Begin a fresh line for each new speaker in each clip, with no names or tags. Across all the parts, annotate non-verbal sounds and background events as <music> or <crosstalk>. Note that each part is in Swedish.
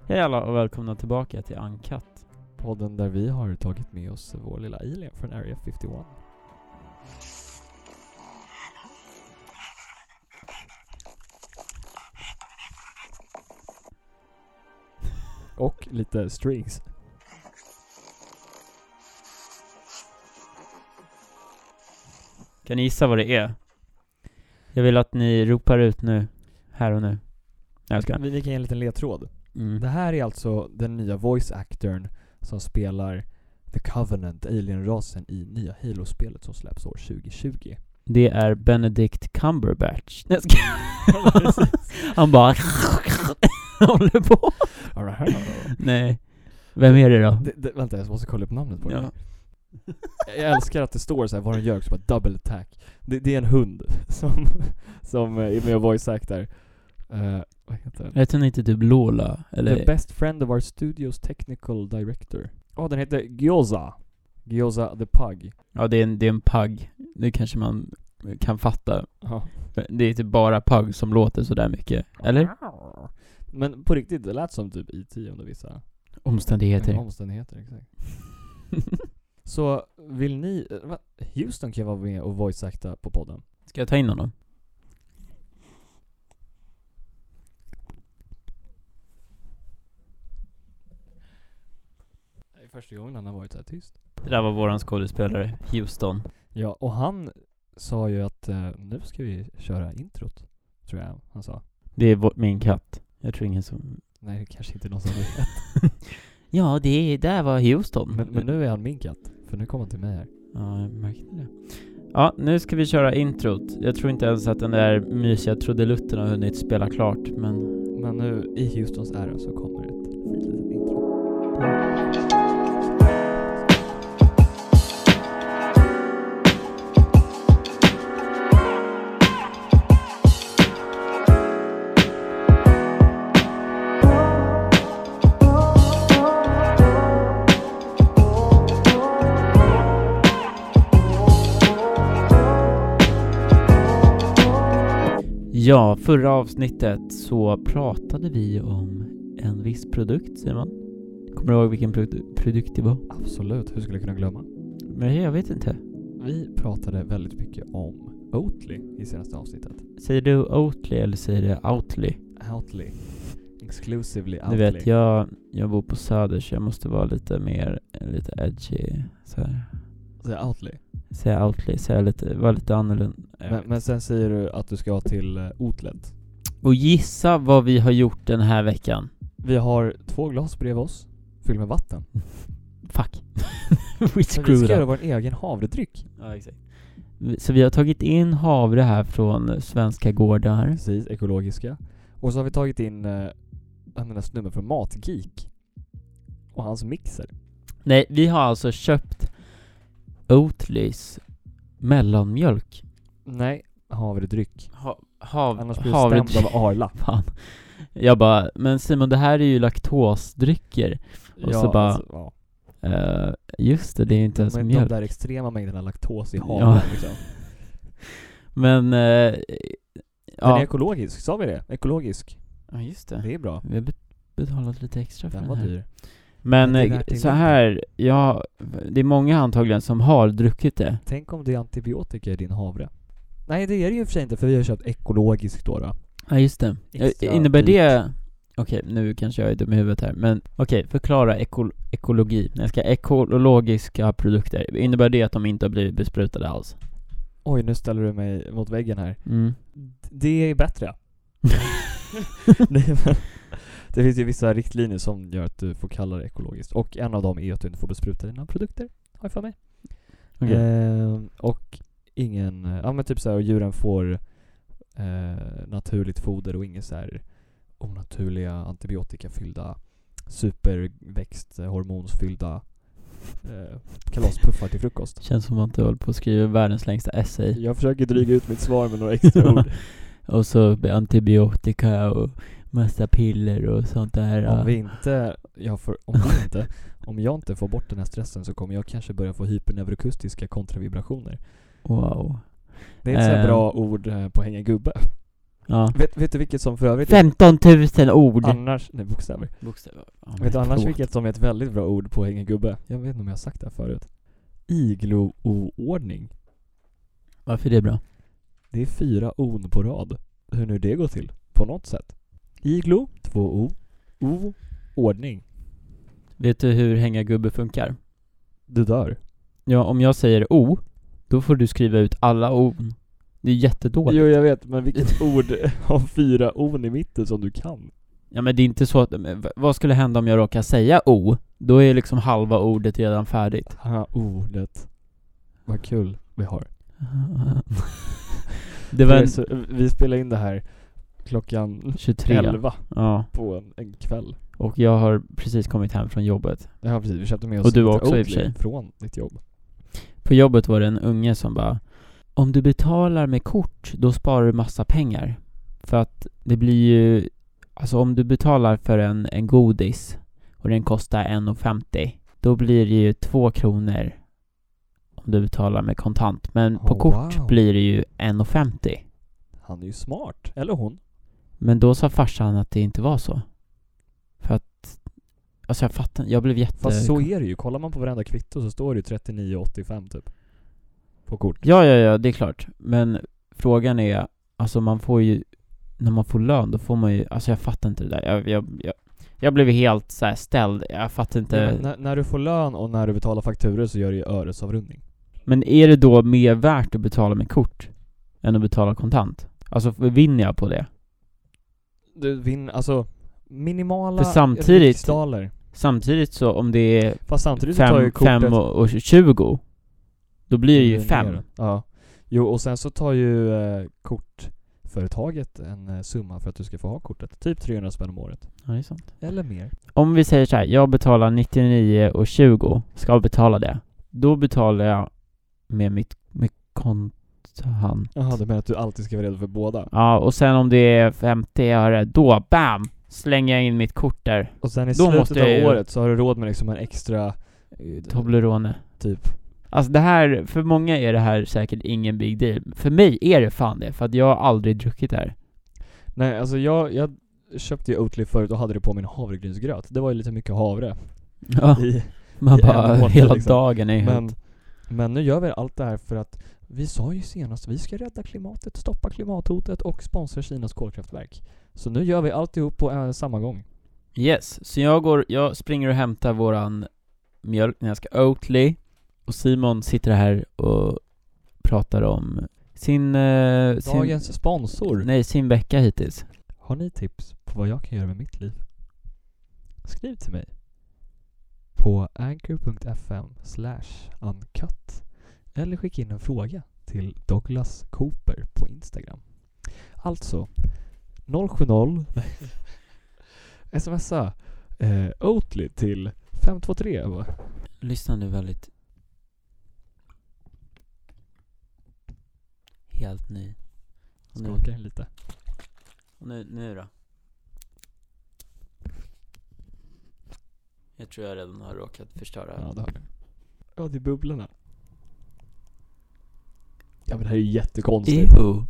Hej alla och välkomna tillbaka till Uncut.
Podden där vi har tagit med oss vår lilla alien från Area 51. Och lite strings.
Kan ni gissa vad det är? Jag vill att ni ropar ut nu, här och nu. Nej, jag skojar.
Vi, vi kan ge en liten ledtråd. Det
Mm.
här är alltså den nya voice actorn som spelar The Covenant, alienrasen i nya Halo-spelet som släpps år <laughs> 2020.
Det är Benedict Cumberbatch. Nej, jag skojar.
<laughs>
Han bara <laughs> håller på. Nej. Vem är det då?
det, det, vänta, jag måste kolla upp namnet på det.
Ja.
Jag älskar att det står så här vad de gör, också bara double attack. Det, det är en hund <laughs> som, som eh, är med och voice actar. Eh, vad heter den?
Heter hon inte typ Lola?
The
Eller?
best friend of our studio's technical director. Ja, den heter Gyoza. Gyoza the Pug.
Ja, det är en, det är en pug. Det kanske man kan fatta.
Ja.
Det är typ bara pug som låter sådär mycket. Eller?
Men på riktigt, det lät som typ IT under vissa
Omständigheter.
omständigheter. Exakt. Så vill ni... eh, va? Houston kan vara med och voice acta på podden.
Ska jag ta in honom?
Det är första gången han har varit så här tyst.
Det där var våran skådespelare, Houston.
Ja, och han sa ju att eh, nu ska vi köra introt, tror jag han sa.
Det är vår, min katt. Jag tror ingen som...
Nej, det kanske inte är någon som
<laughs>
vet.
Ja, det där var Houston.
Men, men nu är han min katt, för nu kommer han till mig här.
Ja, jag märkte det. Ja, nu ska vi köra introt. Jag tror inte ens att den där mysiga trudelutten har hunnit spela klart, men...
Men nu, i Houstons ära, så kommer ett fint litet intro.
Ja, förra avsnittet så pratade vi om en viss produkt, säger man. Kommer du ihåg vilken produ- produkt det var?
Absolut, hur skulle jag kunna glömma?
Men jag vet inte.
Vi pratade väldigt mycket om Oatly i senaste avsnittet.
Säger du Oatly eller säger du Outly?
Outly. Exclusively
Du
Outly.
vet, jag, jag bor på Söder så jag måste vara lite mer, eh, lite edgy så här.
Säger Outly.
Säga outly, säga lite, vara lite annorlunda. Eh,
Men, men sen säger du att du ska till eh, Outlet.
Och gissa vad vi har gjort den här veckan.
Vi har två glas bredvid oss, fyllda med vatten.
Fuck. <laughs> We
Men vi ska
screwed
göra
up.
vår egen havredryck.
Ja, exakt. Så vi har tagit in havre här från svenska gårdar.
Precis, ekologiska. Och så har vi tagit in eh, han den där snubben från Matgeek. Och hans mixer.
Nej, vi har alltså köpt Oatlys mellanmjölk.
Nej, havredryck.
Ha, hav,
Annars blir du stämd av Arla.
<laughs> Fan. Jag bara, men Simon det här är ju laktosdrycker. Och så bara-
alltså, ja.
Eh, just det, det är ju inte ens
Men
mjölk.
de där extrema mängderna laktos i havre
Ja. <laughs>
liksom.
Men, eh,
Den är
ja.
ekologisk, sa vi det? Ekologisk.
ja, just det.
Det är bra.
Vi har bet- betalat lite extra för
Den
den,
var
här.
dyr.
Men
Men det är
eh,
värt det
så
lite.
här, ja, det är många antagligen som har druckit det.
Tänk om det är antibiotika i din havre. Nej det är det ju i och för sig inte för vi har köpt ekologiskt då. då.
Ja, just det. Eh,
Extra
Innebär
dyrt.
det... Okej, nu kanske jag är dum i huvudet här, men okej, förklara ekol- ekologi. Nej, Jag ska ekologiska produkter. Innebär det att de inte har blivit besprutade alls?
Oj nu ställer du mig mot väggen här.
Mm.
D- Det är bättre. Nej, men <laughs> det finns ju vissa riktlinjer som gör att du får kalla det ekologiskt. Och en av dem är att du inte får bespruta dina produkter, har jag för mig.
<laughs> Okej.
Ehm, och ingen, eh, ja men typ såhär, och djuren får eh, naturligt foder och inga såhär onaturliga antibiotikafyllda superväxthormonsfyllda eh, kalaspuffar till frukost.
Känns som att du håller på att skriva världens längsta essay.
Jag försöker dryga ut mitt svar med några <laughs> extra ord.
Och så antibiotika och massa piller och sånt där.
Om vi inte, jag får, om vi inte, om jag inte får bort den här stressen så kommer jag kanske börja få hyperneurokustiska kontravibrationer.
Wow.
Det är ett sånt här
Ehm.
bra ord eh, på att hänga gubbe. <laughs>
Ja.
Vet, vet du vilket som för övrigt är
15 000 ord!
annars, nej bokstäver.
Bokstäver. Ja,
vet du annars
förlåt.
vilket som är ett väldigt bra ord på att hänga gubbe? Jag vet inte om jag har sagt det här förut. Iglo-oordning.
Varför är det bra?
Det är fyra on på rad. Hur nu det går till. På något sätt. Iglo, två o. O, ordning.
Vet du hur hänga gubbe funkar?
Du dör.
Ja, om jag säger O, då får du skriva ut alla O. Det är jättedåligt.
Jo jag vet, men vilket ord <laughs> har fyra on i mitten som du kan?
Ja men det är inte så att, men v- vad skulle hända om jag råkar säga O? Då är liksom halva ordet redan
<laughs>
färdigt.
Haha, ordet. Vad kul vi har.
Det var
Det är
en
så, vi spelar in det här klockan
23.
11
Ja,
på en, en kväll.
och jag har precis kommit hem från jobbet.
Ja precis, vi köpte med oss
Och du
lite
också i och för
Oatly
sig.
från ditt jobb.
På jobbet var det en unge som bara Om du betalar med kort, då sparar du massa pengar. För att det blir ju Alltså om du betalar för en, en godis och den kostar 1,50 då blir det ju 2 kronor om du betalar med kontant. Men på
Oh,
kort
wow.
blir det ju 1,50.
Han är ju smart. Eller hon.
Men då sa farsan att det inte var så. För att Alltså jag fattar jag blev jätte...
Fast så är det ju. Kollar man på varenda kvitto så står det ju 39,85 typ. På kort.
Ja, ja, ja, det är klart. Men frågan är, alltså man får ju, när man får lön då får man ju, alltså jag fattar inte det där. Jag, jag, jag, jag blev helt så här ställd, jag fattar inte.
Nej, men när, när du får lön och när du betalar fakturor så gör det ju öresavrundning.
Men är det då mer värt att betala med kort än att betala kontant? Alltså vinner jag på det?
Du vinner, alltså minimala
För samtidigt-
riksdaler.
Samtidigt så om det är
Fast samtidigt så tar ju
5
kortet...
fem och, och 20 då blir det ju 5.
ner. Ja. Jo, och sen så tar ju eh, kortföretaget en eh, summa för att du ska få ha kortet. Typ 300 spänn om året.
Ja, det är sant.
Eller mer.
Om vi säger så här, jag betalar 99 och 20 ska betala det. Då betalar jag med mitt med kontant.
Jaha, du menar att du alltid ska vara redo för båda?
Ja, och sen om det är 50 öre, då bam! Slänger jag in mitt kort där.
Och sen i
Då
slutet
måste jag ju-
av året så har du råd med liksom en extra, eh,
Toblerone.
typ...
Alltså det här, för många är det här säkert ingen big deal. För mig är det fan det, för att jag har aldrig druckit det här.
Nej, alltså jag, jag köpte ju Oatly förut och hade det på min havregrynsgröt. Det var ju lite mycket havre
Ja,
i.
man
i en
bara,
månad
hela
liksom.
dagen är ju
Men,
helt...
men nu gör vi allt det här för att vi sa ju senast vi ska rädda klimatet, stoppa klimathotet och sponsra Kinas kolkraftverk. Så nu gör vi alltihop på eh, samma gång.
Yes, så jag går, jag springer och hämtar våran mjölk när jag ska Oatly. Och Simon sitter här och pratar om sin... eh, sin
Dagens sponsor.
nej, sin vecka hittills.
Har ni tips på vad jag kan göra med mitt liv? Skriv till mig på anchor.fm uncut eller skicka in en fråga till Douglas Cooper på Instagram. Alltså 070 Nej. <laughs> smsa eh, Oatly till 523 va?
Lyssna nu väldigt Helt ny Och nu,
Skakar lite.
och nu, nu då Jag tror jag redan har råkat förstöra
Ja, det har du. Ja, det är bubblorna. Ja men det här är ju jättekonstigt.
Ew.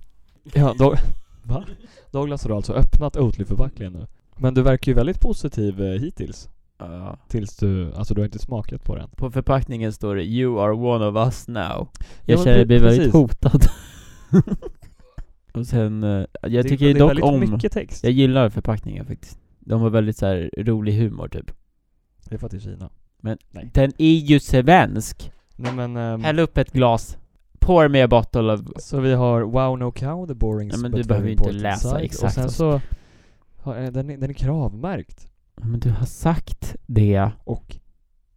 Ja, Doug- Va? Douglas har då alltså öppnat Oatly-förpackningen nu. Men du verkar ju väldigt positiv eh, hittills.
Ja.
Tills du, alltså du har inte smakat på den.
På förpackningen står det 'You are one of us now' Jag
men
känner mig
pre-
väldigt
precis.
hotad <laughs> Och sen, eh, jag
Det-
tycker ju
det är
dock
väldigt
om
mycket text.
Jag gillar förpackningen faktiskt De har väldigt så här rolig humor typ
Det är för att det är Kina.
Den är ju svensk!
Nej men, ehm,
Häll upp ett glas, pour me a bottle of...
så vi har Wow No Cow, The Boring
Ja, men
but
du behöver
Very
ju inte
Important
läsa
Side.
exakt
Och sen
vad-
så, har, eh, den, är, den är kravmärkt.
Men du har sagt det.
Och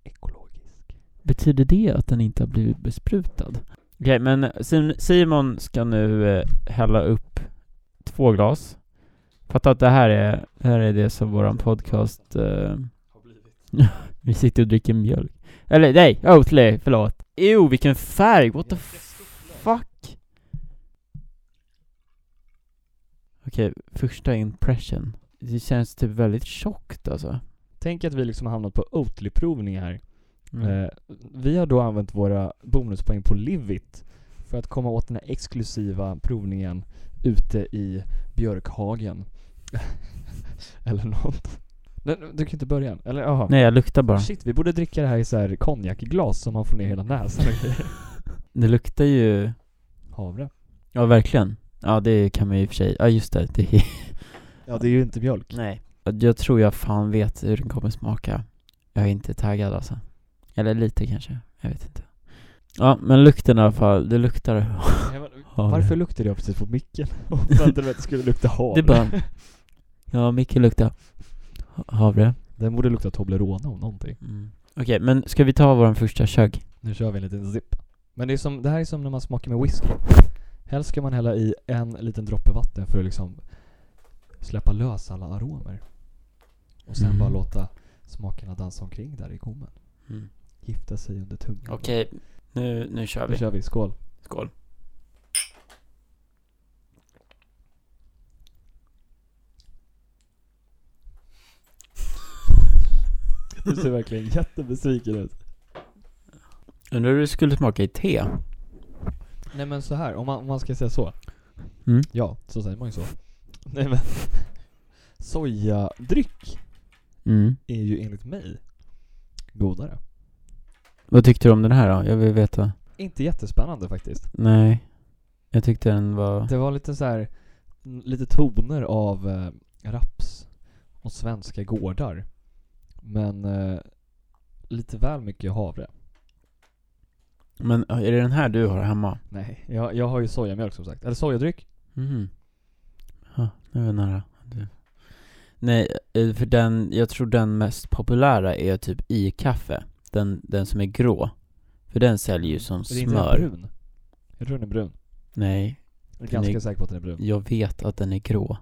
ekologisk.
Betyder det att den inte har blivit besprutad? Okej, men Sim- Simon ska nu eh, hälla upp två glas. Fattar att det här är, det här är det som våran podcast... Eh, <laughs> vi sitter och dricker mjölk. Eller nej, Oatly, förlåt. Jo, vilken färg! What the fuck? Okej, första impression. Det känns typ väldigt tjockt alltså.
Tänk att vi liksom har hamnat på Oatly-provning här.
Mm.
Eh, vi har då använt våra bonuspoäng på Livit för att komma åt den här exklusiva provningen ute i björkhagen. <laughs> Eller något. Nej, du kan inte börja än. Eller jaha.
Nej, jag luktar bara.
Shit, vi borde dricka det här i så här konjakglas som man får ner hela näsan och <laughs> grejer.
Det luktar ju...
Havre.
Ja, verkligen. Ja, det kan man ju i och för sig... Ja, just det. det är... <laughs>
Ja, det är ju inte mjölk.
Nej. Jag tror jag fan vet hur den kommer smaka. Jag är inte taggad alltså. Eller lite kanske. Jag vet inte. Ja, men lukten i alla fall. Det luktar
Nej, men,
havre.
varför luktar jag precis på micken? <laughs> Och väntade mig att det skulle lukta havre.
Det är bara... <laughs> Ja, mycket luktar ha- havre.
Den borde lukta Toblerone om någonting.
Mm. Okej, men ska vi ta vår första chugg?
Nu kör vi en liten zipp. Men det, är som, det här är som när man smakar med whisky. Helst ska man hälla i en liten droppe vatten för att liksom släppa lös alla aromer. Och sen
Mm. Mm.
bara låta smakerna dansa omkring där i gommen. Gifta sig under tungan.
Okej, nu, nu kör
Nu
vi.
kör vi, skål.
<laughs> Skål.
Du ser verkligen jättebesviken ut.
Undrar hur det skulle smaka i te?
Nej men så här, om man, om man ska säga så.
Mm.
Ja, så säger man ju så. Nej men. Sojadryck
Mm.
är ju enligt mig godare.
Vad tyckte du om den här då? Jag vill veta.
Inte jättespännande faktiskt.
Nej. Jag tyckte den var...
Det var lite så här, n- lite toner av eh, raps och svenska gårdar. Men eh, lite väl mycket havre.
Men är det den här du har hemma?
Nej, jag, jag har ju sojamjölk som sagt. Eller sojadryck. Mm-hmm.
Mm. Ja, nu är jag nära. Du. Nej, eh, för den, jag tror den mest populära är typ i kaffe. Den, den som är grå. För den säljer ju som
Är det inte den
smör.
brun? Jag tror den är brun.
Nej,
Jag är
Den är-
ganska säker på att den är brun.
jag vet att den är grå.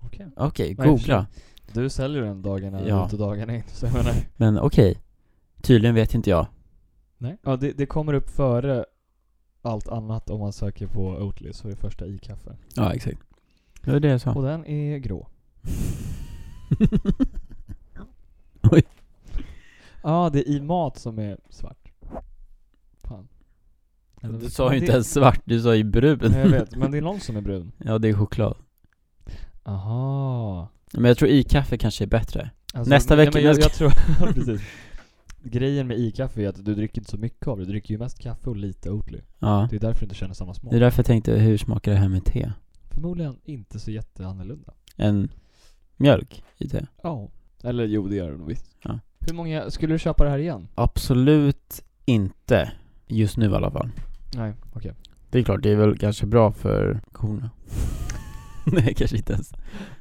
Okej.
Okej,
Nej, i och för
googla.
Du säljer den dagarna
Ja.
ut och dagarna in, så jag menar.
Men okej. Tydligen vet inte jag.
Nej. Ja, det, det kommer upp före allt annat om man söker på Oatly, så är det första i kaffe.
Ja, exakt. Det var det jag <laughs> sa.
Och den är grå.
Oj.
Ja, det är i mat som är svart. Fan. Eller-
Du sa ju inte
Det-
ens svart, du sa ju brun.
Nej, jag vet, men det är någon som är brun.
<laughs> Ja, det är choklad.
Aha.
Men jag tror i kaffe kanske är bättre.
Alltså,
Nästa
nej,
vecka-
men jag,
nästa-
jag tror, <laughs> ja, precis. Grejen med i-kaffe är att du dricker inte så mycket av det. Du dricker ju mest kaffe och lite Oatly.
Ja.
Det är därför du inte känner samma smak.
Det är därför jag tänkte, hur smakar det här med te?
Förmodligen inte så jätteannorlunda.
Än mjölk i te?
Ja. Eller jo, det gör det nog visst.
Ja.
Hur många, skulle du köpa det här igen?
Absolut inte. Just nu i alla fall.
Nej, okej.
Det är klart, det är väl kanske bra för korna. <laughs> Nej, kanske inte ens.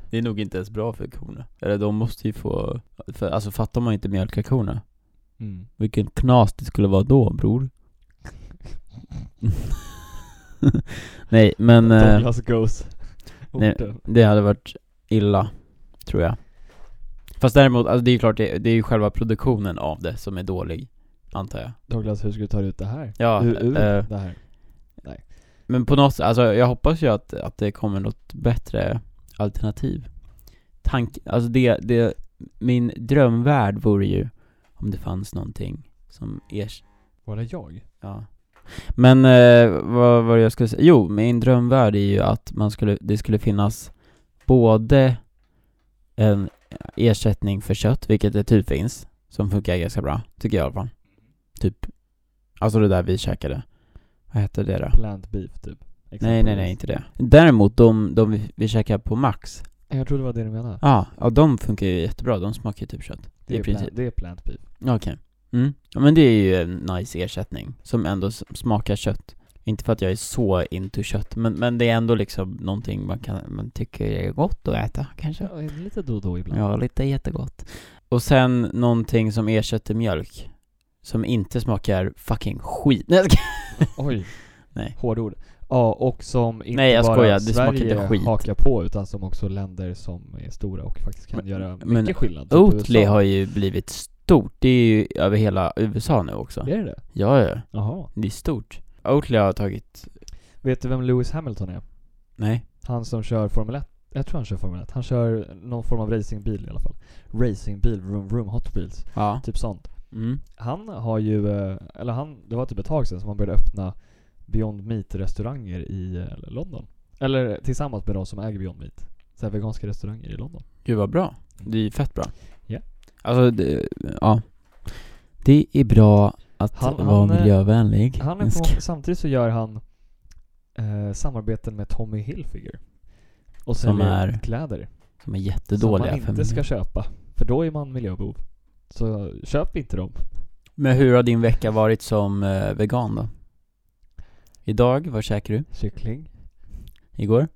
Det är nog inte ens bra för korna. Eller de måste ju få, för, alltså fattar man inte mjölka korna?
Mm.
Vilken knas det skulle vara då, bror. <laughs> Nej, <laughs> men... eh,
Douglas goes.
nej.
Orten.
Det hade varit illa, tror jag. Fast däremot, alltså det är ju klart, det, det är ju själva produktionen av det som är dålig, antar jag.
Douglas, hur ska du ta dig ut det här?
Ja,
ur ur
eh,
det här.
men på något sätt, alltså jag hoppas ju att, att det kommer något bättre alternativ. Tank, alltså det, det, min drömvärld vore ju om det fanns någonting som ers,
Var det jag?
Ja. Men eh, vad var det jag skulle säga? Jo, min drömvärld är ju att man skulle, det skulle finnas både en ersättning för kött, vilket det typ finns, som funkar ganska bra, tycker jag i alla fall. Typ, alltså det där vi käkade. Vad hette det då?
Plant beef typ?
Nej, nej, nej,
exempelvis.
inte det. Däremot de, de vi, vi käkar på Max,
Jag trodde det var det du menade.
ja, ja, de funkar ju jättebra, de smakar ju typ kött.
det,
i
är
princip.
plant, det är plant beef.
Okej. Mm. Ja, men det är ju en nice ersättning som ändå s- smakar kött. Inte för att jag är så into kött, men, men det är ändå liksom någonting man, kan, man tycker är gott att äta kanske.
Ja, lite då och då ibland.
Ja, lite jättegott. Och sen någonting som ersätter mjölk. Som inte smakar fucking skit. Nej, jag skojar.
Oj.
<laughs> Nej.
Hårdord. Ja, och som inte
Nej, jag
bara
skojar. Det smakar
Sverige
inte skit.
hakar på utan som också länder som är stora och faktiskt kan
Men-
göra mycket
men
skillnad. typ
Oatly
USA.
har ju blivit stort. Det är ju över hela USA nu också.
Är det det?
Ja, ja.
Jaha.
Det är stort. Oatly har tagit...
Vet du vem Lewis Hamilton är?
Nej.
Han som kör Formel 1. Jag tror han kör Formel 1. Han kör någon form av racingbil i alla fall. Racingbil, room, room, hot wheels.
Ja.
Typ sånt.
Mm.
Han har ju, eh, eller han, det var typ ett tag sedan som han började öppna Beyond Meat restauranger i eh, London. Eller tillsammans med de som äger Beyond Meat. Så här veganska restauranger i London.
Gud vad bra. Det är ju fett bra.
Ja.
Alltså, det, ja. Det är bra att
Han- han,
vara
eh,
miljövänlig.
Han är
Jag ska-
på, samtidigt så gör han eh, samarbeten med Tommy Hilfiger. Och
Som
säljer
är
kläder.
Som är jättedåliga
Som man
för
inte ska
miljön.
köpa. För då är man miljöbov. Så köp inte dem.
Men hur har din vecka varit som eh, vegan då? Idag, vad käkar du?
Kyckling.
Igår?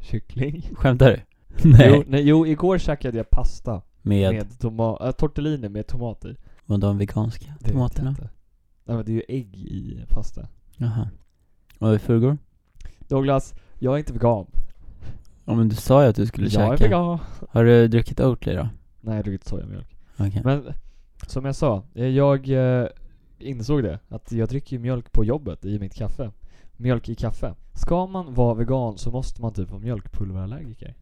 Kyckling.
Skämtar du?
Jo,
Nej.
<laughs> nej, jo igår käkade jag pasta
Med,
med toma- äh, tortellini med tomat i.
med de veganska
Det vet jag
tomaterna?
inte. Nej men det är ju ägg i pasta.
Jaha. Och i förrgår?
Douglas, jag är inte vegan.
Ja men du sa ju att du skulle
jag är
käka.
vegan.
Har du druckit Oatly då?
Nej, jag druckit sojamjölk.
Okej.
Men som jag sa, eh, jag eh, insåg det. Att jag dricker ju mjölk på jobbet i mitt kaffe. Mjölk i kaffe. Ska man vara vegan så måste man typ vara mjölkpulverallergiker.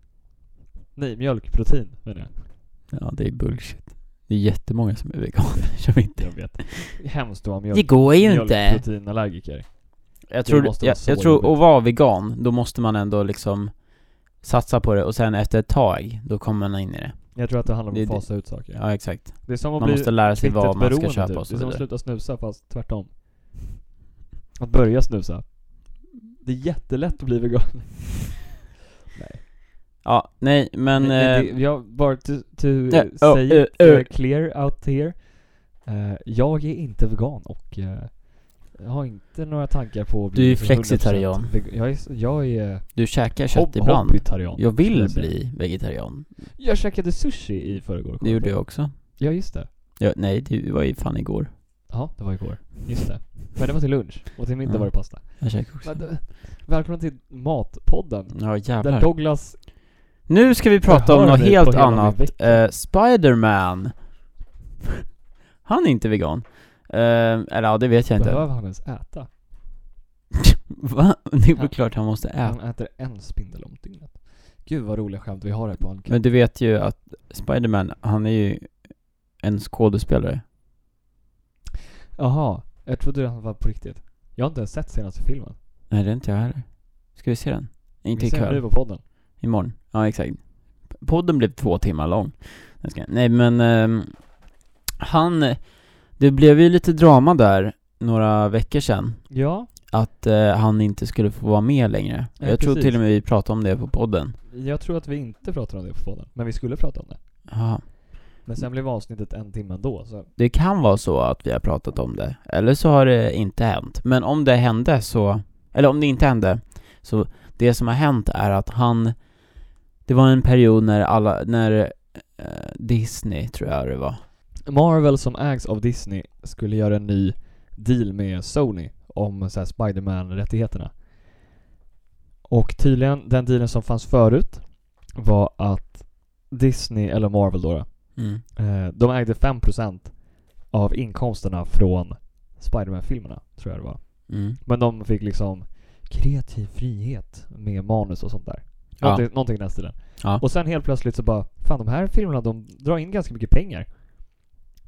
Nej, mjölkprotein menar jag.
Ja det är bullshit. Det är jättemånga som är <laughs> veganer som inte...
Jag
<laughs>
vet. Hemskt att vara
Det
mjölk,
går ju inte!
mjölkproteinallergiker.
Jag tror,
måste vara
jag,
så
jag tror,
jobbigt.
att vara vegan, då måste man ändå liksom satsa på det och sen efter ett tag, då kommer man in i det.
Jag tror att det handlar om
Det-
att
det-
fasa ut saker.
Ja exakt.
Det är som att
Man
bli
måste lära sig Alltså, vad man ska
fittetberoende,
köpa
typ.
och så
Det är som att
vidare.
sluta snusa fast tvärtom. Att börja snusa. Det är jättelätt att bli vegan.
Ja, nej men...
<laughs> Nej,
eh,
det, jag bara to, to
Ja, oh,
say
eh,
it eh,
eh.
clear out here. Eh, jag är inte vegan och eh, har inte några tankar på att bli
Du är
100%
flexitarian.
veg- Jag är, s- jag är eh,
Du käkar kött
hob-
ibland.
hobbitarian.
Jag
skulle
vill
säga.
bli vegetarian.
Jag käkade sushi i förrgår. kom
Det gjorde
på.
jag också.
Ja, just det.
Ja, nej, det var ju fan igår.
Ja, det var igår. Just det. Men det var till lunch och till middag
Mm.
var det pasta.
Jag käkar också.
Men, eh, Välkomna till Matpodden.
Ja
Där
jävlar.
Douglas...
Nu ska vi prata
Förhör
om något
mig på
helt
hela
annat.
min vecka.
Eh, Spiderman. <laughs> Han är inte vegan. Eh, eller ja, det vet jag inte.
Behöver han ens äta?
Va? <laughs> Det är väl
Ja.
klart han måste äta.
Han äter en spindel om dygnet. Gud vad roliga skämt vi har här på Anka.
Men du vet ju att Spiderman, han är ju en skådespelare.
Jaha, jag trodde han var på riktigt. Jag har inte ens sett senaste filmen.
Nej, det är inte jag heller. Ska vi se den? Inte
Vi ser den nu
ikväll.
på podden.
Imorgon. Ja, exakt. Podden blev två timmar lång. Jag ska- Nej, men ehm, han... Det blev ju lite drama där några veckor sedan.
Ja,
att eh, han inte skulle få vara med längre.
Ja,
jag tror
precis.
till och med vi pratade om det på podden.
jag tror att vi inte pratar om det på podden. Men vi skulle prata om det.
Ja.
Men sen blev avsnittet en timme ändå, så
Det kan vara så att vi har pratat om det, eller så har det inte hänt. Men om det hände så, eller om det inte hände, så det som har hänt är att han, det var en period när alla, när eh, Disney tror jag det var.
Marvel som ägs av Disney skulle göra en ny deal med Sony om så här, Spider-Man-rättigheterna. Och tydligen, den dealen som fanns förut var att Disney, eller Marvel då, då
Mm.
eh, de ägde 5% av inkomsterna från Spider-Man-filmerna, tror jag det var.
Mm.
Men de fick liksom kreativ frihet med manus och sånt där.
Ja.
Någonting, någonting i den stilen.
Ja.
Och sen helt plötsligt så bara, fan de här filmerna de drar in ganska mycket pengar.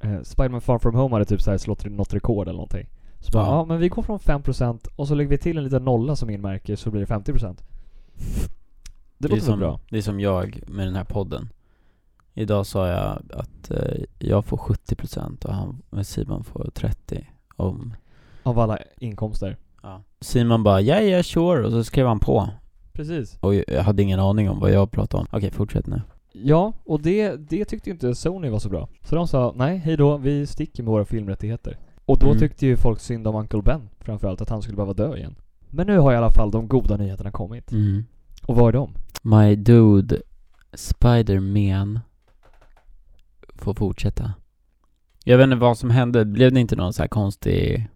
Eh, Spiderman Far From Home hade typ så här slått något rekord eller någonting. Så bara, ja.
Ja.
men vi går från 5% och så lägger vi till en liten nolla som inmärker så blir det 50%. Det
är
låter väl
som,
bra?
Det är som jag med den här podden. Idag sa jag att eh, jag får 70% och han, Simon får 30% om
Av alla inkomster.
Simon bara 'Ja, ja, sure' och så skrev han på.
Precis.
Och jag hade ingen aning om vad jag pratade om. Okej, fortsätt nu.
Ja, och det, det tyckte ju inte Sony var så bra. Så de sa nej, hej då, vi sticker med våra filmrättigheter. Och då
Mm.
tyckte ju folk synd om Uncle Ben framförallt, att han skulle behöva dö igen. Men nu har i alla fall de goda nyheterna kommit. Och vad är de?
My dude, Spider-Man får fortsätta. Jag vet inte vad som hände, blev det inte någon så här konstig,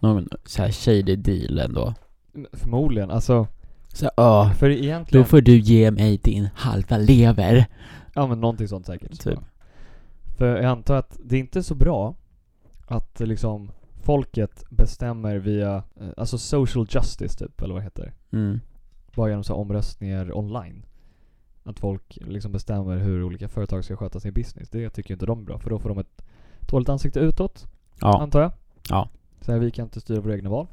någon så här shady deal ändå?
Mm, Förmodligen, alltså.
Så här, ja,
För
då
egentligen,
får du ge mig din halva lever.
ja men någonting sånt säkert.
Typ.
För jag antar att det är inte så bra att eh, liksom folket bestämmer via, eh, alltså social justice typ, eller vad det heter.
Mm.
Bara genom så här omröstningar online. Att folk liksom bestämmer hur olika företag ska sköta sin business. Det tycker ju inte de är bra, för då får de ett dåligt ansikte utåt,
Ja,
antar jag.
Ja.
Så här, vi kan inte styra våra egna val.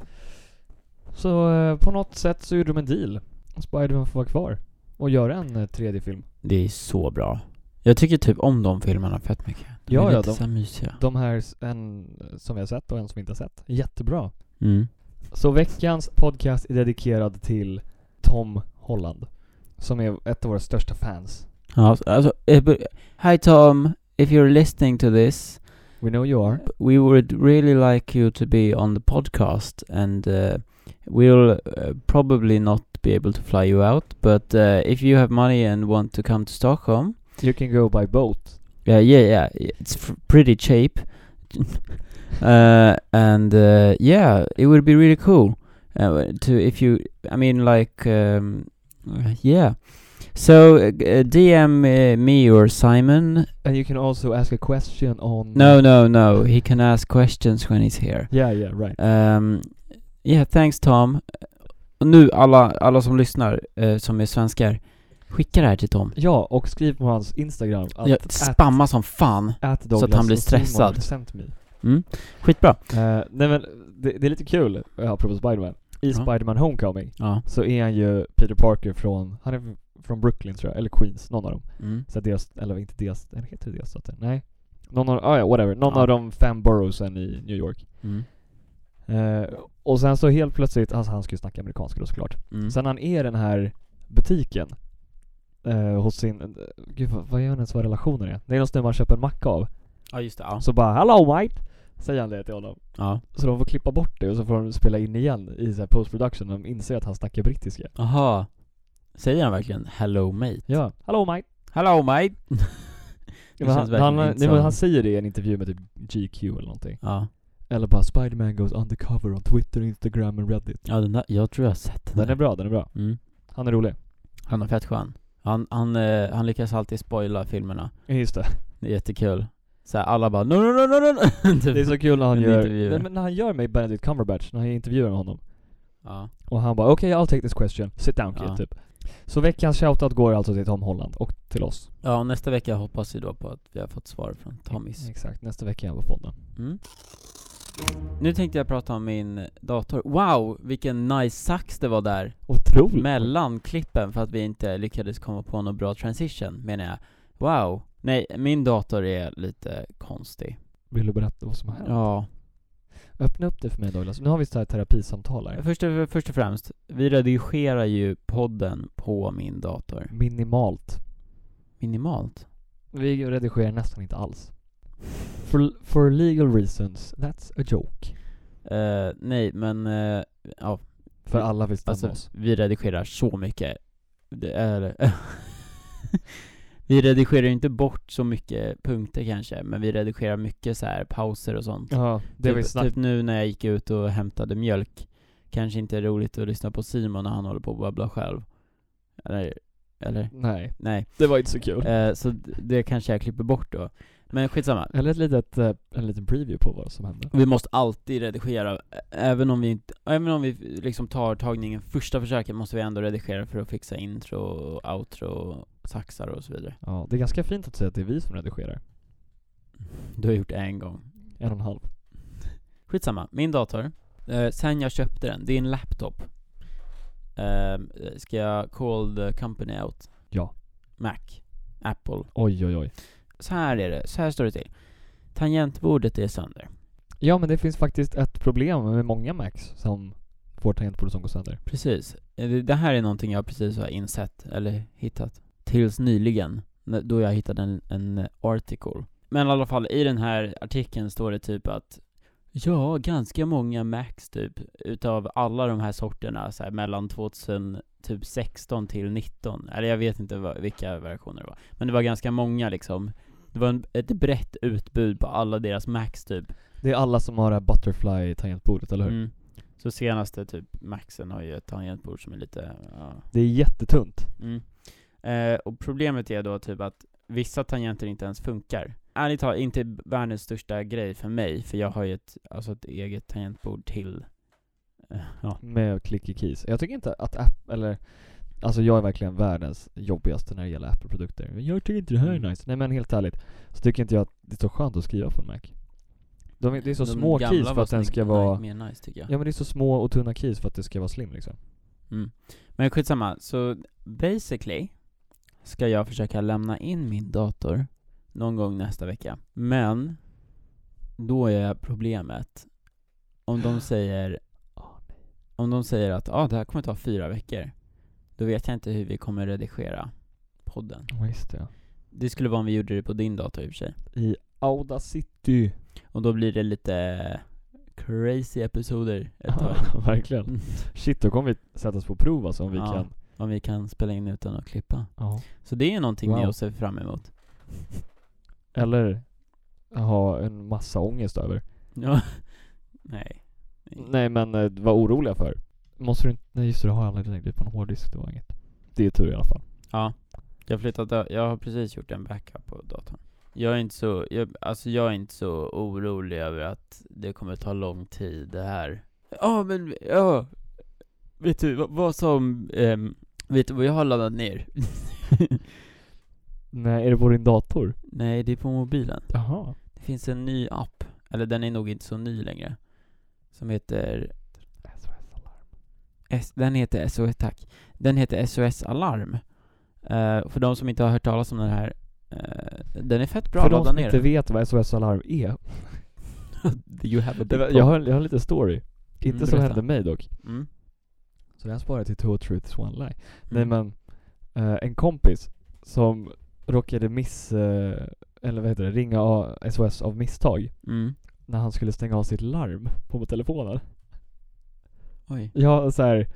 Så eh, på något sätt så gjorde de en deal. Och Spider-Man får vara kvar. Och göra en eh, tredje film.
Det är så bra. Jag tycker typ om de filmerna fett mycket. De
Ja,
är
ja,
lite
de-
så här mysiga.
De här, s- en som vi har sett och en som vi inte har sett. Jättebra.
Mm.
Så veckans podcast är dedikerad till Tom Holland. Som är ett av våra största fans.
Ja, alltså- alltså, eh, but- hi Tom, if you're listening to this,
We know you are.
we would really like you to be on the podcast and uh, we'll uh, probably not be able to fly you out, but uh, if you have money and want to come to Stockholm,
You can go by boat.
Yeah, yeah, yeah. It's f- pretty cheap. <laughs> uh, and uh, yeah, it would be really cool uh, to if you. I mean, like, um, uh, yeah. So uh, g- uh, DM uh, me or Simon.
And you can also ask a question on...
No, no, no. He can ask questions when he's here.
Yeah, yeah, right.
Um, yeah, thanks Tom. Och nu alla, alla som lyssnar eh, som är svenskar, skicka det här till Tom.
Ja, och skriv på hans Instagram att,
Jag spamma som fan.
att
att han blir stressad. Skitbra.
Eh, nej men, det, det är lite kul, eh, apropå Spiderman. I
Ja.
Spiderman Homecoming
Ja.
så är han ju Peter Parker från, han är f- från Brooklyn tror jag, eller Queens, någon av dem.
Mm.
Så att deras, eller inte deras, eller heter det delstaten? Nej. Någon av, ah, ja, whatever, någon
Ja.
av de fem boroughsen i New York.
Mm.
Eh, och sen så helt plötsligt, alltså han ska ju snacka amerikanska då såklart.
Mm.
Sen han är i den här butiken eh, hos sin, gud vad, vad gör han ens vad relationer är? Det är någon snubbe han köper en macka av.
Ja, just det. Ja.
Så bara 'Hello mate' säger han det till honom.
Ja.
Så de får klippa bort det och så får de spela in igen i så här post production när de inser att han snackar brittiska.
Aha. Säger han verkligen 'Hello mate'?
Ja. 'Hello mate'
Hello mate! det
Men han,
verkligen
han,
inte
nej,
som-
men han säger det i en intervju med typ GQ eller någonting.
Ja.
Eller bara 'Spiderman goes undercover on Twitter, Instagram and Reddit'
ja, den där, jag tror jag har sett den.
Den
där.
är bra, den är bra.
Mm.
Han är rolig.
Han är fett skön. Han, han, eh, han lyckas alltid spoila filmerna.
Ja,
<laughs>
Just det.
Det är jättekul. Så här, alla bara no, no, no, no, no. <laughs> typ.
Det är så kul när han
En
gör,
intervju.
nej, men när han gör med Benedict Cumberbatch, när han intervjuar med honom.
Ja.
Och han bara okej, I'll take this question. Sit down kid,
Ja.
typ. Så veckans shoutout går alltså till Tom Holland och till oss.
ja, och nästa vecka hoppas vi då på att vi har fått svar från Tommys.
Exakt, nästa vecka är han på podden.
Mm. Nu tänkte jag prata om min dator. Wow, vilken nice sax det var där.
Otroligt.
mellan klippen för att vi inte lyckades komma på någon bra transition menar jag. Wow. Nej, min dator är lite konstig.
Vill du berätta vad som har hänt?
Ja.
Öppna upp det för mig Douglas. Nu har vi så här terapisamtal här.
Först och, först och främst, vi redigerar ju podden på min dator.
Minimalt.
Minimalt.
Vi redigerar nästan inte alls. For, for legal reasons, that's a joke.
Eh, nej, men eh, ja,
För alla vill stämma
alltså
oss.
vi redigerar så mycket. Det är... <laughs> vi redigerar ju inte bort så mycket punkter kanske, men vi redigerar mycket så här pauser och sånt.
Ja, det vi
typ,
snack-
typ nu när jag gick ut och hämtade mjölk, kanske inte är roligt att lyssna på Simon när han håller på att babbla själv. Eller, eller?
Nej,
Nej.
det var inte så kul.
Eh, så d- det kanske jag klipper bort då. Men skitsamma.
Eller ett litet, eh, en liten preview på vad som hände.
Vi måste alltid redigera, ä- även om vi inte, även om vi liksom tar tagningen första försöket måste vi ändå redigera för att fixa intro, och outro, saxar och så vidare.
Ja, det är ganska fint att säga att det är vi som redigerar.
Du har gjort det en gång.
En och en halv.
Skitsamma, min dator. Eh, sen jag köpte den, det är en laptop. Eh, ska jag call the company out?
Ja.
Mac. Apple.
Oj, oj, oj.
Så här är det, så här står det till. Tangentbordet är sönder.
Ja, men det finns faktiskt ett problem med många Macs som får tangentbordet som går sönder.
Precis. Eh, Det det här är någonting jag precis har insett, eller hittat. Tills nyligen, när- då jag hittade en, en eh, article. Men i alla fall, i den här artikeln står det typ att Ja, ganska många Macs typ, utav alla de här sorterna så här, mellan 2000, typ 16 till 19. Eller jag vet inte vad, vilka versioner det var. Men det var ganska många liksom. Det var en, ett brett utbud på alla deras Macs typ.
Det är alla som har det här butterfly-tangentbordet, eller hur?
Mm. Så senaste typ Maxen har ju ett tangentbord som är lite, ja.
Det är jättetunt.
Mm. Eh, och problemet är då typ att vissa tangenter inte ens funkar. Ärligt talat, inte världens största grej för mig, för jag har ju ett, alltså ett eget tangentbord till, eh, ja.
Med clicky keys. Jag tycker inte att app, eller Alltså jag är verkligen världens jobbigaste när det gäller Apple-produkter. Men Jag tycker inte det här är
Mm.
nice. Nej men helt ärligt, så tycker inte jag att det är så skönt att skriva på en Mac. De, är- det är så
De
små
gamla
keys för
var
att den ska
snyggt,
vara...
Mer nice tycker jag.
Ja men det är så små och tunna keys för att det ska vara slim liksom.
Mm. Men skitsamma, så basically ska jag försöka lämna in min dator någon gång nästa vecka. Men då är problemet om de säger
Åh, nej.
om de säger att ah, det här kommer ta fyra veckor, då vet jag inte hur vi kommer redigera podden.
Ja, just det.
Det skulle vara om vi gjorde det på din dator i och för sig.
I Audacity.
Och då blir det lite crazy episoder ett tag.
Ja, <laughs> verkligen.
Mm.
Shit, då kommer vi sättas på prov alltså om vi
Ja.
kan.
Om vi kan spela in utan att klippa.
Ja.
Så det är ju någonting
Wow.
jag ser fram emot. <laughs>
Eller ha en massa ångest över.
Ja. Nej.
Nej men eh, var oroliga för. Måste du inte, nej just det, du har aldrig längre på en hårddisk, det var inget. Det är tur i alla fall.
Ja, jag har flyttat ö- jag har precis gjort en backup på datorn. Jag är inte så, jag, alltså jag är inte så orolig över att det kommer ta lång tid det här. Ja men, ja. Vet du vad, vad som, ehm, vet du vad jag har laddat ner? <laughs>
Nej, är det på din dator?
Nej, det är på mobilen.
Jaha.
Det finns en ny app, eller den är nog inte så ny längre. Som heter,
SOS Alarm.
S, den heter SOS, tack. Den heter SOS Alarm. Eh, för de som inte har hört talas om den här, eh, den är fett bra
För
att
de
ladda
som
ner.
inte vet vad SOS Alarm är.
you have a
Det
big
var, jag, har, jag har lite story. Inte
Mm,
som
berätta.
hände mig dock.
Mm.
Så den sparar jag till Two Truths One Lie. Nej
Mm.
men, eh, en kompis som råkade miss, eh, eller vad heter det, ringa av SOS av misstag
Mm.
när han skulle stänga av sitt larm på telefonen.
Oj.
Ja, så här,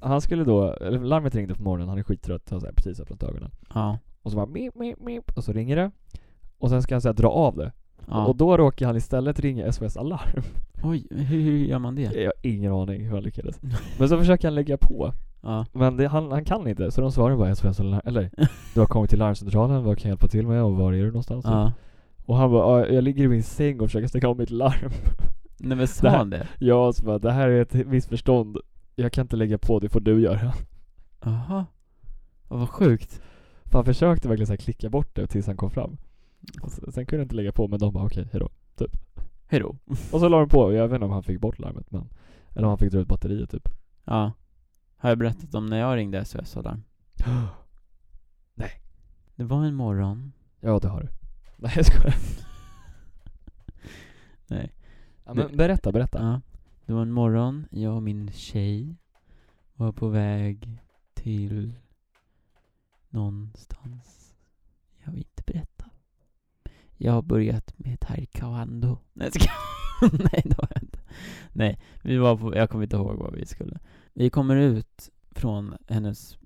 han skulle då, eller larmet ringde på morgonen, han är skittrött, han har så här precis öppnat ögonen.
Ja.
Och så bara mip, mip, mip, och så ringer det. Och sen ska han så här, dra av det.
ja.
Och då råkar han istället ringa SOS Alarm.
Oj, hur, hur gör man det?
<laughs> Jag har ingen aning hur
<laughs>
han lyckades. Men så försöker han lägga på.
Ja.
Men det, han, han kan inte, så de svarar bara SOS Alarm, eller du har kommit till larmcentralen, vad kan jag hjälpa till med och var är du någonstans?
ja.
Och han bara, "Ja, jag ligger i min säng och försöker stänga av mitt larm. <laughs>
Nej men
Det
sa
här-
han det?
Ja, så bara, det här är ett missförstånd. Jag kan inte lägga på, det får du göra.
Jaha. Ja, vad sjukt.
För han försökte verkligen så här klicka bort det tills han kom fram. Och sen, sen kunde han inte lägga på, men de bara okej, hejdå.
Hejdå.
Och så la de på, jag vet inte om han fick bort larmet, men eller om han fick dra ut batteriet typ. <gasps>
Ja. Har jag berättat om när jag ringde SOS Alarm?
Nej.
Det var en morgon.
Ja, det har du. <laughs> Nej, jag skojar.
<laughs> Nej.
Ja, men berätta, berätta.
Ja. Det var en morgon, jag och min tjej var på väg till någonstans. Jag vill inte berätta. Jag har börjat med taekwondo. Nej, ska... <laughs> Nej, det har jag inte. Nej, vi var på, jag kommer inte ihåg vad vi skulle. Vi kommer ut från hennes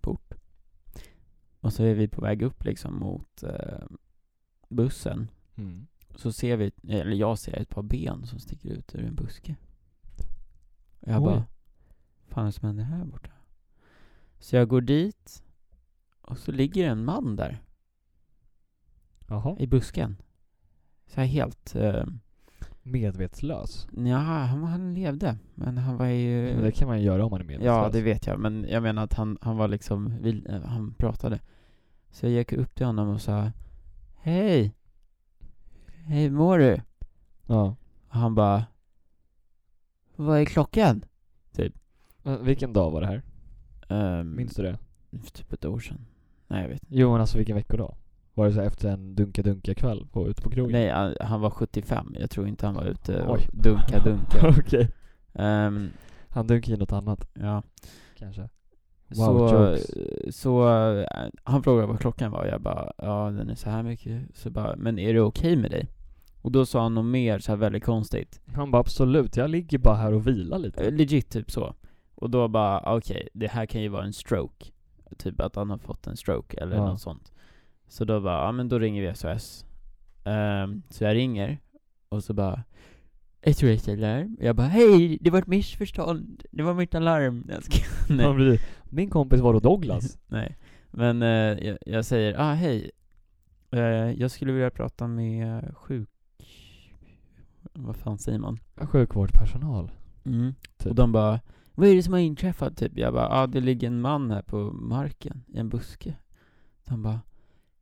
port. Och så är vi på väg upp liksom mot eh, bussen.
Mm.
Så ser vi, eller jag ser ett par ben som sticker ut ur en buske. Och jag
Oj.
bara, fan vad som händer här borta? Så jag går dit, och så ligger en man där,
Jaha.
i busken. Så här helt, uh,
Medvetslös.
ja han, han levde, men han var ju...
Men det kan man ju göra om man är medvetslös.
Ja, det vet jag. Men jag menar att han, han var liksom, vil, eh, han pratade. Så jag gick upp till honom och sa Hej! Hej, mår du?
Ja.
Och han bara Vad är klockan?
Men vilken dag var det här?
Um,
Minns du det?
Typ ett år sedan. Nej, jag vet inte.
Jo men alltså vilken veckodag? Var det så här efter en dunka-dunka-kväll på, ute på krogen?
Nej, han, han var 75. Jag tror inte han var ute och
Oj. <laughs>
dunka-dunka.
Okej.
Ehm,
Han dunkade i något annat
ja.
kanske. Wow,
så,
jokes.
så eh, han frågade vad klockan var och jag bara, ja den är så här mycket. Så bara, men är det okej med dig? Och då sa han något mer så här väldigt konstigt.
Han bara absolut, jag ligger bara här och vilar lite.
Eh, Legit typ så. Och då bara, ah, okej, det här kan ju vara en stroke. Typ att han har fått en stroke eller
Ja.
något sånt. Så då bara, ja men då ringer vi SOS. Ehm, så jag ringer och så bara, ett rätt alarm. Jag bara, hej, det var ett missförstånd. Det var mitt alarm. <laughs> Jag ska- Nej.
Han blir, Min kompis var
<laughs>
då Douglas.
Nej, men eh, jag, jag säger, ah hej, eh, jag skulle vilja prata med sjuk... Vad fan säger man?
Sjukvårdspersonal.
Mm,
Typ.
Och de bara, vad är det som har inträffat? Typ. Jag bara, ah det ligger en man här på marken i en buske. De bara,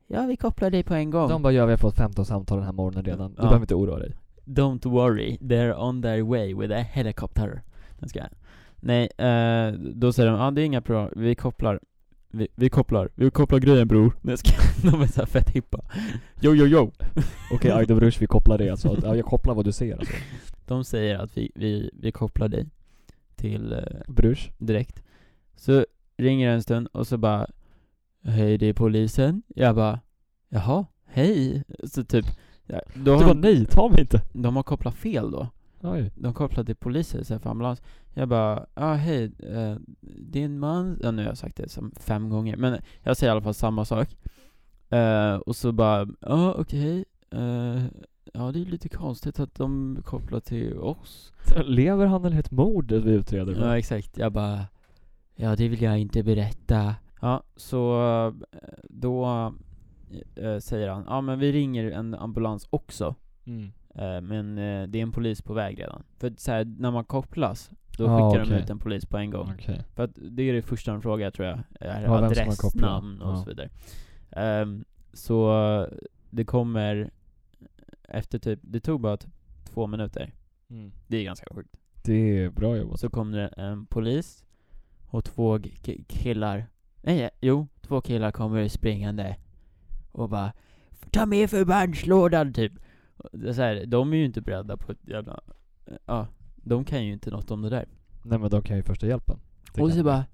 ja vi kopplar dig på en gång.
De bara, ja vi har fått 15 samtal den här morgonen redan.
Ja.
Du
<laughs>
behöver inte oroa dig.
Don't worry, they're on their way with a helicopter. Den ska jag. Nej, eh, då säger de ja ah, det är inga problem, vi kopplar vi, vi kopplar, vi kopplar grejen bror. Nej, jag skojar. <laughs> De är såhär fett hippa. Jo, jo, jo.
Okej, Agda Brush, vi kopplar det alltså. Ja, jag kopplar vad du
<laughs>
ser alltså.
De säger att vi, vi, vi kopplar dig till eh,
Brush.
direkt. Så ringer det en stund och så bara Hej det är polisen. Jag bara Jaha, hej. Så typ ja, då
Du
har
bara
de,
nej, ta mig inte.
de har kopplat fel då.
Oj.
De kopplade till polisen istället för ambulans. Jag bara Ja ah, hej, eh, din man ja, nu har jag sagt det som fem gånger men jag säger i alla fall samma sak. Eh, och så bara Ja ah, okej eh, Ja det är lite konstigt att de kopplar till oss.
Lever han eller är det ett mord vi utreder?
Ja exakt, jag bara Ja det vill jag inte berätta Ja, så eh, då eh, säger han Ja men vi ringer en ambulans också
Mm.
eh, Men eh, det är en polis på väg redan För att så här, när man kopplas Då
Ah,
skickar
okej.
de ut en polis på en gång
Okej.
För att det är det första de frågar tror jag är
Ja, vem som har
Adress,
kopplat.
namn och
Ja.
så vidare Ehm, Så det kommer Efter typ, det tog bara typ två minuter Det är ganska sjukt
Mm. Det är bra
och
jobbat.
så kom det en polis och två g- k- killar. Nej, jo, två killar kommer springande och bara Ta med förbandslådan typ. Och Det är så här, de är ju inte beredda på ett jävla... Ja, de kan ju inte något om det där.
Nej men de kan ju första hjälpen. Det
och
kan
så
de.
bara...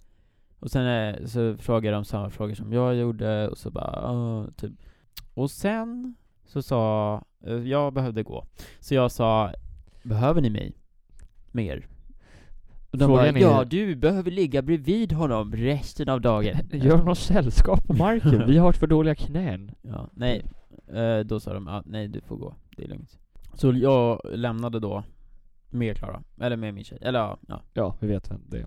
Och sen eh, så frågade de samma frågor som jag gjorde och så bara, "Ah", typ. Och sen så sa... eh, Jag behövde gå. Så jag sa, behöver ni mig? Mer? Och de
Frågan
bara,
är-
ja du behöver ligga bredvid honom resten av dagen.
<laughs> Gör någon sällskap
<laughs>
på marken? Vi har för dåliga knän.
Ja, nej. Eh, då sa de, ja, nej du får gå, det är lugnt. Så jag lämnade då med Klara, eller med min tjej, eller ja, ja.
Ja, vi vet vem det är.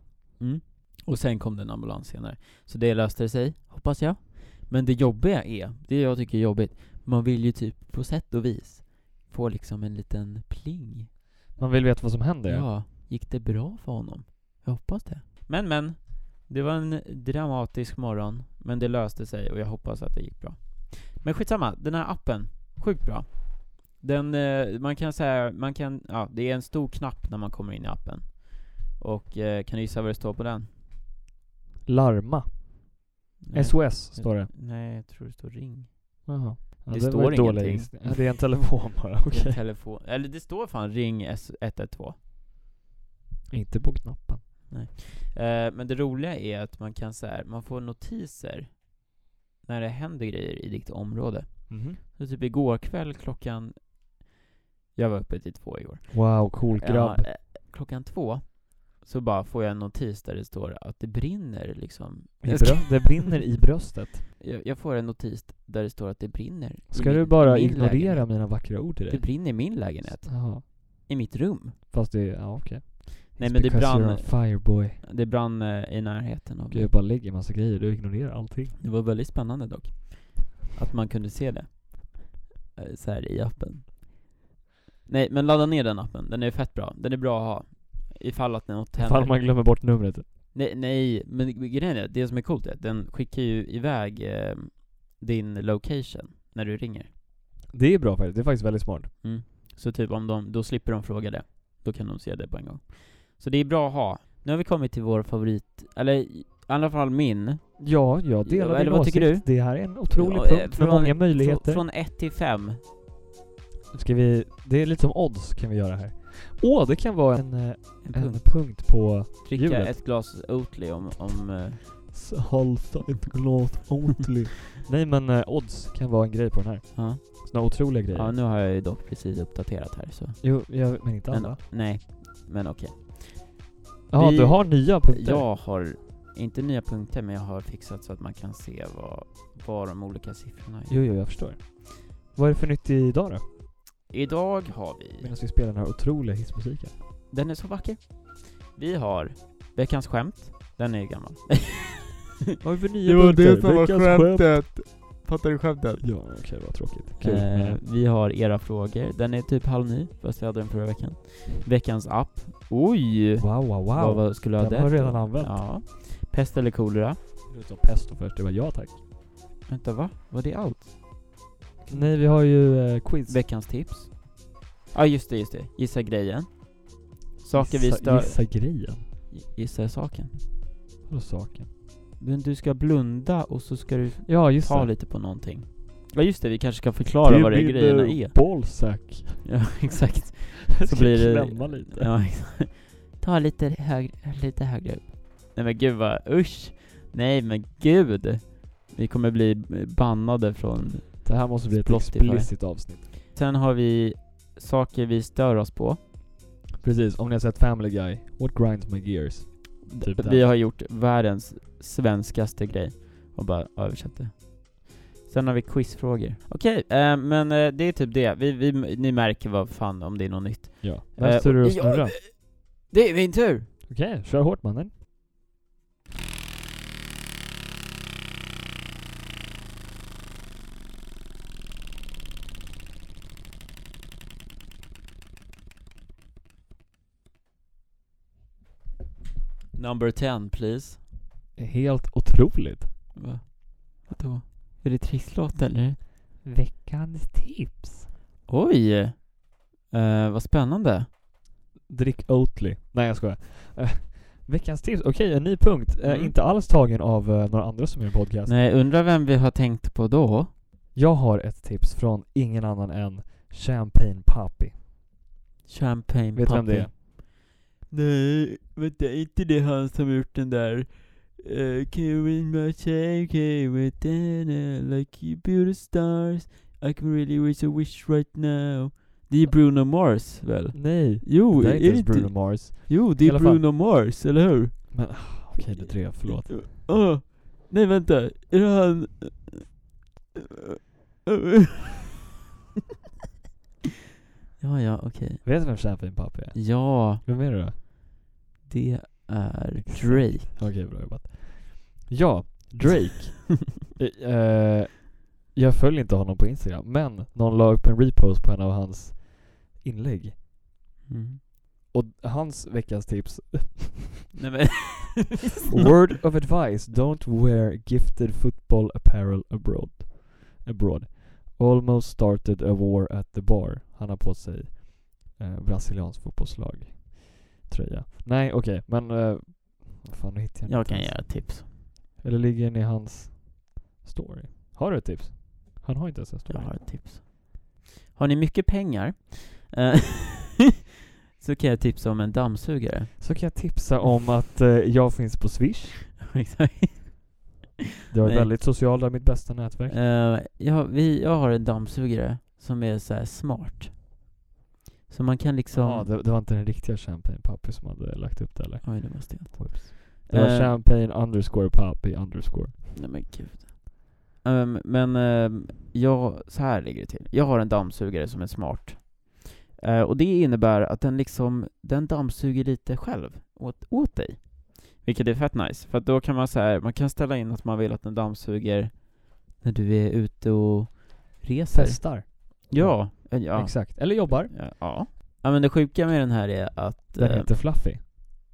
Och sen kom det en ambulans senare. Så det löste sig, hoppas jag. Men det jobbiga är, det jag tycker är jobbigt, man vill ju typ på sätt och vis få liksom en liten pling.
Man vill veta vad som händer.
Ja, gick det bra för honom? Jag hoppas det. Men men, det var en dramatisk morgon, men det löste sig och jag hoppas att det gick bra. Men skitsamma, den här appen, sjukt bra. Den, eh, man kan säga, man kan, ja, det är en stor knapp när man kommer in i appen. Och eh, kan du gissa vad det står på den?
Larma.
Nej.
SOS står det.
Nej, jag tror det står ring.
Jaha. Ja,
Det
var
står
ju dålig
ingenting.
gissning. Ja, det är en telefon
<laughs>
bara,
Det är
okej.
Telefon. Eller det står fan ring S- 112.
<laughs> Inte på knappen.
Eh, men det roliga är att man kan så här, man får notiser när det händer grejer i ditt område. Så typ igår kväll klockan, jag var uppe till två igår.
Wow, cool grabb.
Ja, eh, klockan två så bara får jag en notis där det står att det brinner liksom.
I brö- det brinner i bröstet.
Jag, jag får en notis där det står att det brinner. i
Ska
min-
du bara
min
ignorera
lägenhet.
mina vackra ord till
Det
dig?
brinner i min lägenhet,
Jaha.
i mitt rum.
Fast det, ja okej.
Nej,
It's
men det
because
brann-
You're on fire boy.
Det brann eh, i närheten av
Gud, jag bara lägger massa grejer, du ignorerar allting.
Det var väldigt spännande dock. Att man kunde se det. eh, Så här i appen. Nej men ladda ner den appen, den är fett bra. Den är bra att ha. Ifall att något händer.
Ifall man glömmer bort numret.
Nej, nej, men grejen är, det som är coolt är att den skickar ju iväg eh, din location när du ringer.
Det är bra faktiskt, det är faktiskt väldigt smart.
Så typ om de, då slipper de fråga det. Då kan de se det på en gång. Så det är bra att ha. Nu har vi kommit till vår favorit, eller i alla fall min.
Ja, jag delar
Ja,
din
eller vad
åsikt.
tycker
Det här är en otrolig
Ja, eh,
punkt med många möjligheter.
Frå, från 1 till 5.
Ska vi, det är lite som odds kan vi göra här. Åh, det kan vara en, eh,
En
en
punkt.
punkt på
Dricka
Hjulet.
ett glas Oatly om, om eh,
Halta ett glas Oatly. <laughs> Nej men eh, odds kan vara en grej på den här.
ja.
Såna otroliga grejer.
ja, nu har jag ju dock precis uppdaterat här så.
Jo, jag, men inte alla.
Men, nej, men okej.
Ja,
vi-
du har nya punkter.
Jag har, inte nya punkter, men jag har fixat så att man kan se vad, vad de olika siffrorna är.
Jo, jo, jag förstår. Vad är det för nytt idag då?
Idag har vi,
Medan vi spelar den här otroliga hissmusiken.
den är så vacker. Vi har veckans skämt, den är gammal.
Vad är det för nya punkter? Veckans skämt.
Fattar du skämtet?
Ja, okej, vad tråkigt. Kul.
Eh,
men-
vi har era frågor, den är typ halv ny, fast vi hade den förra veckan. Veckans app, oj!
Wow, wow, wow.
Vad, vad skulle jag ha
Den
det
har
till?
redan använt.
Ja. Pest eller kolera?
Du sa pesto först, det var ja tack.
Vänta va? Var det allt?
Nej, vi har ju eh, quiz.
Veckans tips? Ja ah, just det, just det. Gissa grejen. Saker vi
Gissa-
stör...
Gissa grejen.
Gissa saken.
Vadå saken?
Men du ska blunda och så ska du
Ja, just
ta
det.
lite på någonting. Ja just det, vi kanske ska förklara vad det är grejerna är. <laughs>
<laughs> Ballsack.
Ja, exakt.
Ska
blir det-
Klämma lite.
Ja, exakt. Ta lite högre, lite högre upp. Nej men gud vad, usch! Nej men gud! Vi kommer bli bannade från...
Det här måste bli ett
Spotify.
explicit avsnitt.
Sen har vi saker vi stör oss på.
Precis, om ni har sett Family Guy, what grinds my gears? Typ
Vi
där.
har gjort världens svenskaste grej och bara översatt det. Sen har vi quizfrågor. Okej, eh, men eh, det är typ det. Vi, vi, ni märker vad fan om det är något nytt.
Ja.
Eh,
Vem står du och
ja,
snurra?
Det är min tur!
Okej, kör hårt mannen.
Number 10 please.
Helt otroligt.
Va? Vadå? Är det trisslåt eller?
Veckans tips.
Oj! Eh, vad spännande.
Drick Oatly. Nej jag skojar. Eh, veckans tips, okej en ny punkt. Eh,
Mm.
Inte alls tagen av eh, några andra som gör en podcast.
Nej, undrar vem vi har tänkt på då?
Jag har ett tips från ingen annan än Champagne Papi.
Champagne
Vet du vem det är?
Nej, vänta, är inte det han som har gjort den där uh, Can read my check, with like you beautiful stars I can really wish a wish right now Det är Bruno Mars väl?
Nej.
Jo,
det
är
är inte ens
det
Bruno
inte?
Mars.
Jo, det
I
är
alla fall.
Bruno Mars, eller hur?
Men ah, okej, det drev. Förlåt.
Åh, nej vänta, är det han... ja, ja, okej.
Vet du vem Champagne Papi är?
Ja,
Vem är det då?
det är Drake.
Okej, bra jobbat. Ja, Drake. Eh, eh, jag följer inte honom på Instagram, men någon la upp en repost på en av hans inlägg.
Mm.
Och hans veckans tips,
Nej men... <laughs>
word of advice, don't wear gifted football apparel abroad. abroad. Almost started a war at the bar. Han har på sig eh, brasiliansk fotbollslag tröja. Nej, okej, men eh, vad fan, nu hittar jag,
Jag
inte
kan
ens.
ge ett tips.
Eller ligger den i hans story? Har du ett tips? Han har inte ens en story.
Jag har ett tips. Har ni mycket pengar, eh, <laughs> så kan jag tipsa om en
<laughs>
dammsugare.
Så kan jag tipsa om att eh, jag finns på Swish.
Exakt.
Jag är
Nej.
väldigt social, det är mitt bästa nätverk.
Eh, jag, vi, jag har en dammsugare som är så här smart. Så man kan liksom...
Ja, det, det var inte den riktiga Champagne Papi som hade lagt upp det eller?
Oj, det måste jag.
Whoops. Det var
Eh,
Champagne underscore Papi underscore.
Nej men gud. Ehm, men ehm, jag, så här ligger det till. Jag har en dammsugare som är smart. Eh, och det innebär att den liksom, den dammsuger lite själv åt, åt dig. Vilket är fett nice, för att då kan man så här, man kan ställa in att man vill att den dammsuger när du är ute och reser.
Festar.
Ja, eh, ja.
Exakt. Eller jobbar.
Ja, ja. ja men det sjuka med den här är att,
Den
eh,
heter Fluffy.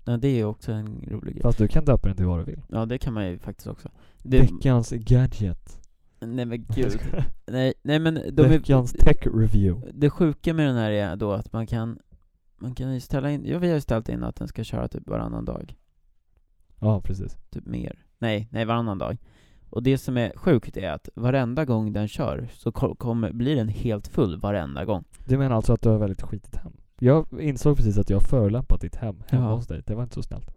ja, det är också en rolig grej.
Fast du kan döpa den till vad du vill.
Ja det kan man ju faktiskt också. Det,
Veckans gadget.
nej men
Jag
gud.
skojar.
Nej, nej men de är,
Veckans tech review.
Det sjuka med den här är då att man kan man kan ju ställa in, ja vi har ju ställt in att den ska köra typ varannan dag,
Ja, precis.
typ mer. Nej, nej varannan dag. Och det som är sjukt är att varenda gång den kör så ko- kommer, blir den helt full varenda gång.
Du menar alltså att du har väldigt skitigt hem? Jag insåg precis att jag förolämpat ditt hem hemma
Ja.
hos dig. Det var inte så snällt.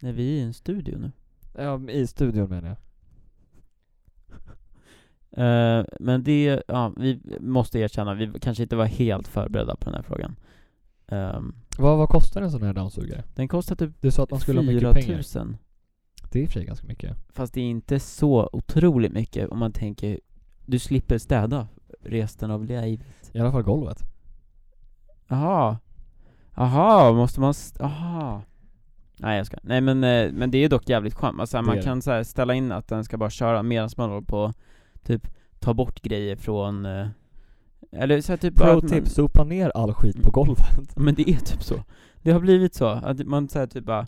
Nej, vi är i en studio nu.
Ja, men i studion menar jag.
Eh, men det, ja vi måste erkänna, vi kanske inte var helt förberedda på den här frågan. Ehm,
Vad, vad kostar en sån här dammsugare?
den kostar typ
Du sa att man skulle ha mycket
4
pengar.
000.
Det är i och för sig ganska mycket.
Fast det är inte så otroligt mycket om man tänker, du slipper städa resten av livet.
I alla fall golvet.
Jaha. Jaha, måste man... s- Jaha. Nej jag ska. Nej men, eh, men det är dock jävligt skönt. Alltså,
är
man
det.
kan så här, ställa in att den ska bara köra medan man håller på och typ ta bort grejer från... eh, Eller så här, typ bara
Pro
att man-
tips, sopa ner all skit på
Mm.
golvet.
Men det är typ så. Det har blivit så. Att man säger typ bara...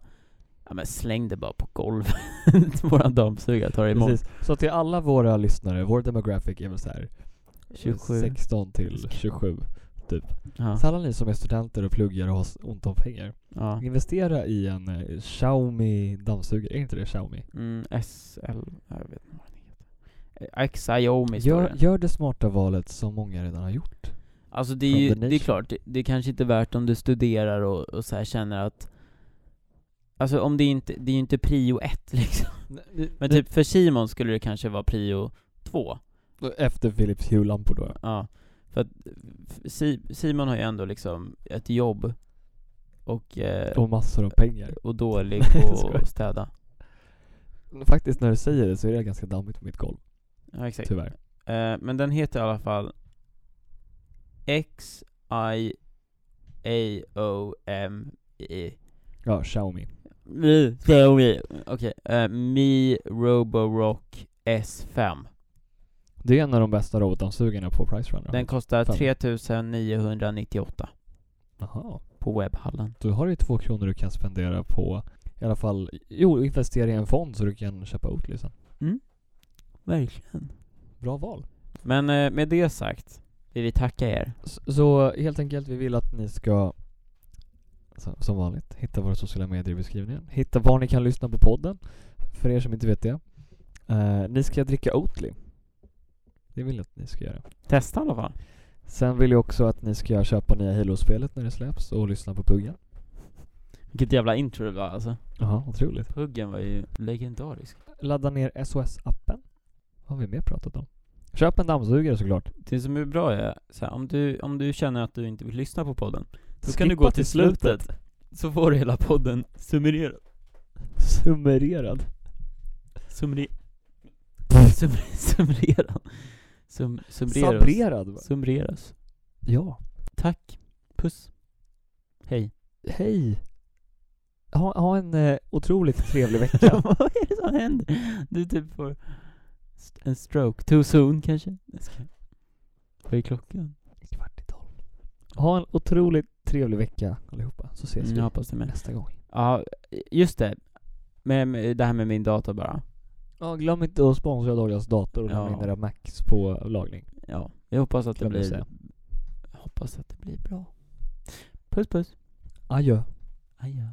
Ja men släng det bara på golvet. <laughs> Våran dammsugare tar det imorgon.
Precis. Så till alla våra lyssnare, vår demographic är väl så här eh,
27.
16 till 27. typ.
Ja.
Så alla ni som är studenter och pluggar och har s- ont om pengar,
ja.
investera i en eh, Xiaomi dammsugare. Är inte det Xiaomi?
Mm, SL, jag vet inte vad den heter. Eh, Xiaomi står
Gör,
det.
gör det smarta valet som många redan har gjort.
Alltså det är ju,
From the
det är
nation.
klart, det, det är kanske inte värt om du studerar och, och så här känner att Alltså om det inte, det är ju inte prio ett <laughs> liksom. Men typ för Simon skulle det kanske vara prio två.
Efter Philips Hue-lampor då.
Ja. För att f- Si- Simon har ju ändå liksom ett jobb och, eh,
Och massor av pengar.
och dålig
Nej, <laughs> jag
på
skojar.
att städa. eh,
Faktiskt när du säger det så är det ganska dammigt på mitt golv,
Ja exakt.
tyvärr.
Eh, men den heter i alla fall X I A O M E
Ja, Xiaomi.
Mi, Xiaomi. Okej, eh, Mi Roborock S5.
Det är en av de bästa robotdammsugarna på Price Runner.
Den kostar
Fem.
3998
Jaha.
på webbhallen.
Du har ju två kronor du kan spendera på, i alla fall, jo, investera i en fond så du kan köpa Oatly sen.
Verkligen.
Bra val.
Men eh, med det sagt vill vi tacka er.
Så, så helt enkelt, vi vill att ni ska så- som vanligt, hitta våra sociala medier i beskrivningen. Hitta var ni kan lyssna på podden, för er som inte vet det. Eh, ni ska dricka Oatly. Det vill jag att ni ska göra.
Testa i alla fall.
Sen vill jag också att ni ska köpa nya Halo-spelet när det släpps och lyssna på Puggen.
Vilket jävla intro det var alltså.
Jaha, otroligt.
Puggen var ju legendarisk.
Ladda ner SOS-appen. Vad har vi mer pratat om? Köp en dammsugare såklart.
Det som är bra är så här, om, du, om du känner att du inte vill lyssna på podden, så kan du
Skippa
gå till slutet. Så får du hela podden summererad.
Summererad.
Summeri... Summeri... Summererad. Sum, summereras.
Sabrerad. va?
Summereras.
Ja.
Tack. Puss. <laughs> Hej.
Hej. Ha, ha en eh, otroligt trevlig
<laughs>
vecka.
Vad är det som händer? Du typ får st- en stroke. Too soon kanske? Jag skojar. Vad är klockan?
Kvart i tolv. Ha en otroligt trevlig vecka allihopa, så ses
Mm,
vi
jag hoppas det med.
nästa gång.
Ja, just det. Med, med det här med min dator bara.
Ja, glöm inte att sponsra Douglas dator och lämna
Ja.
in era Macs på lagring.
Ja, jag hoppas att det
Glöm det
blir...
säga.
Hoppas att det blir bra. Puss puss.
Adjö.
Adjö.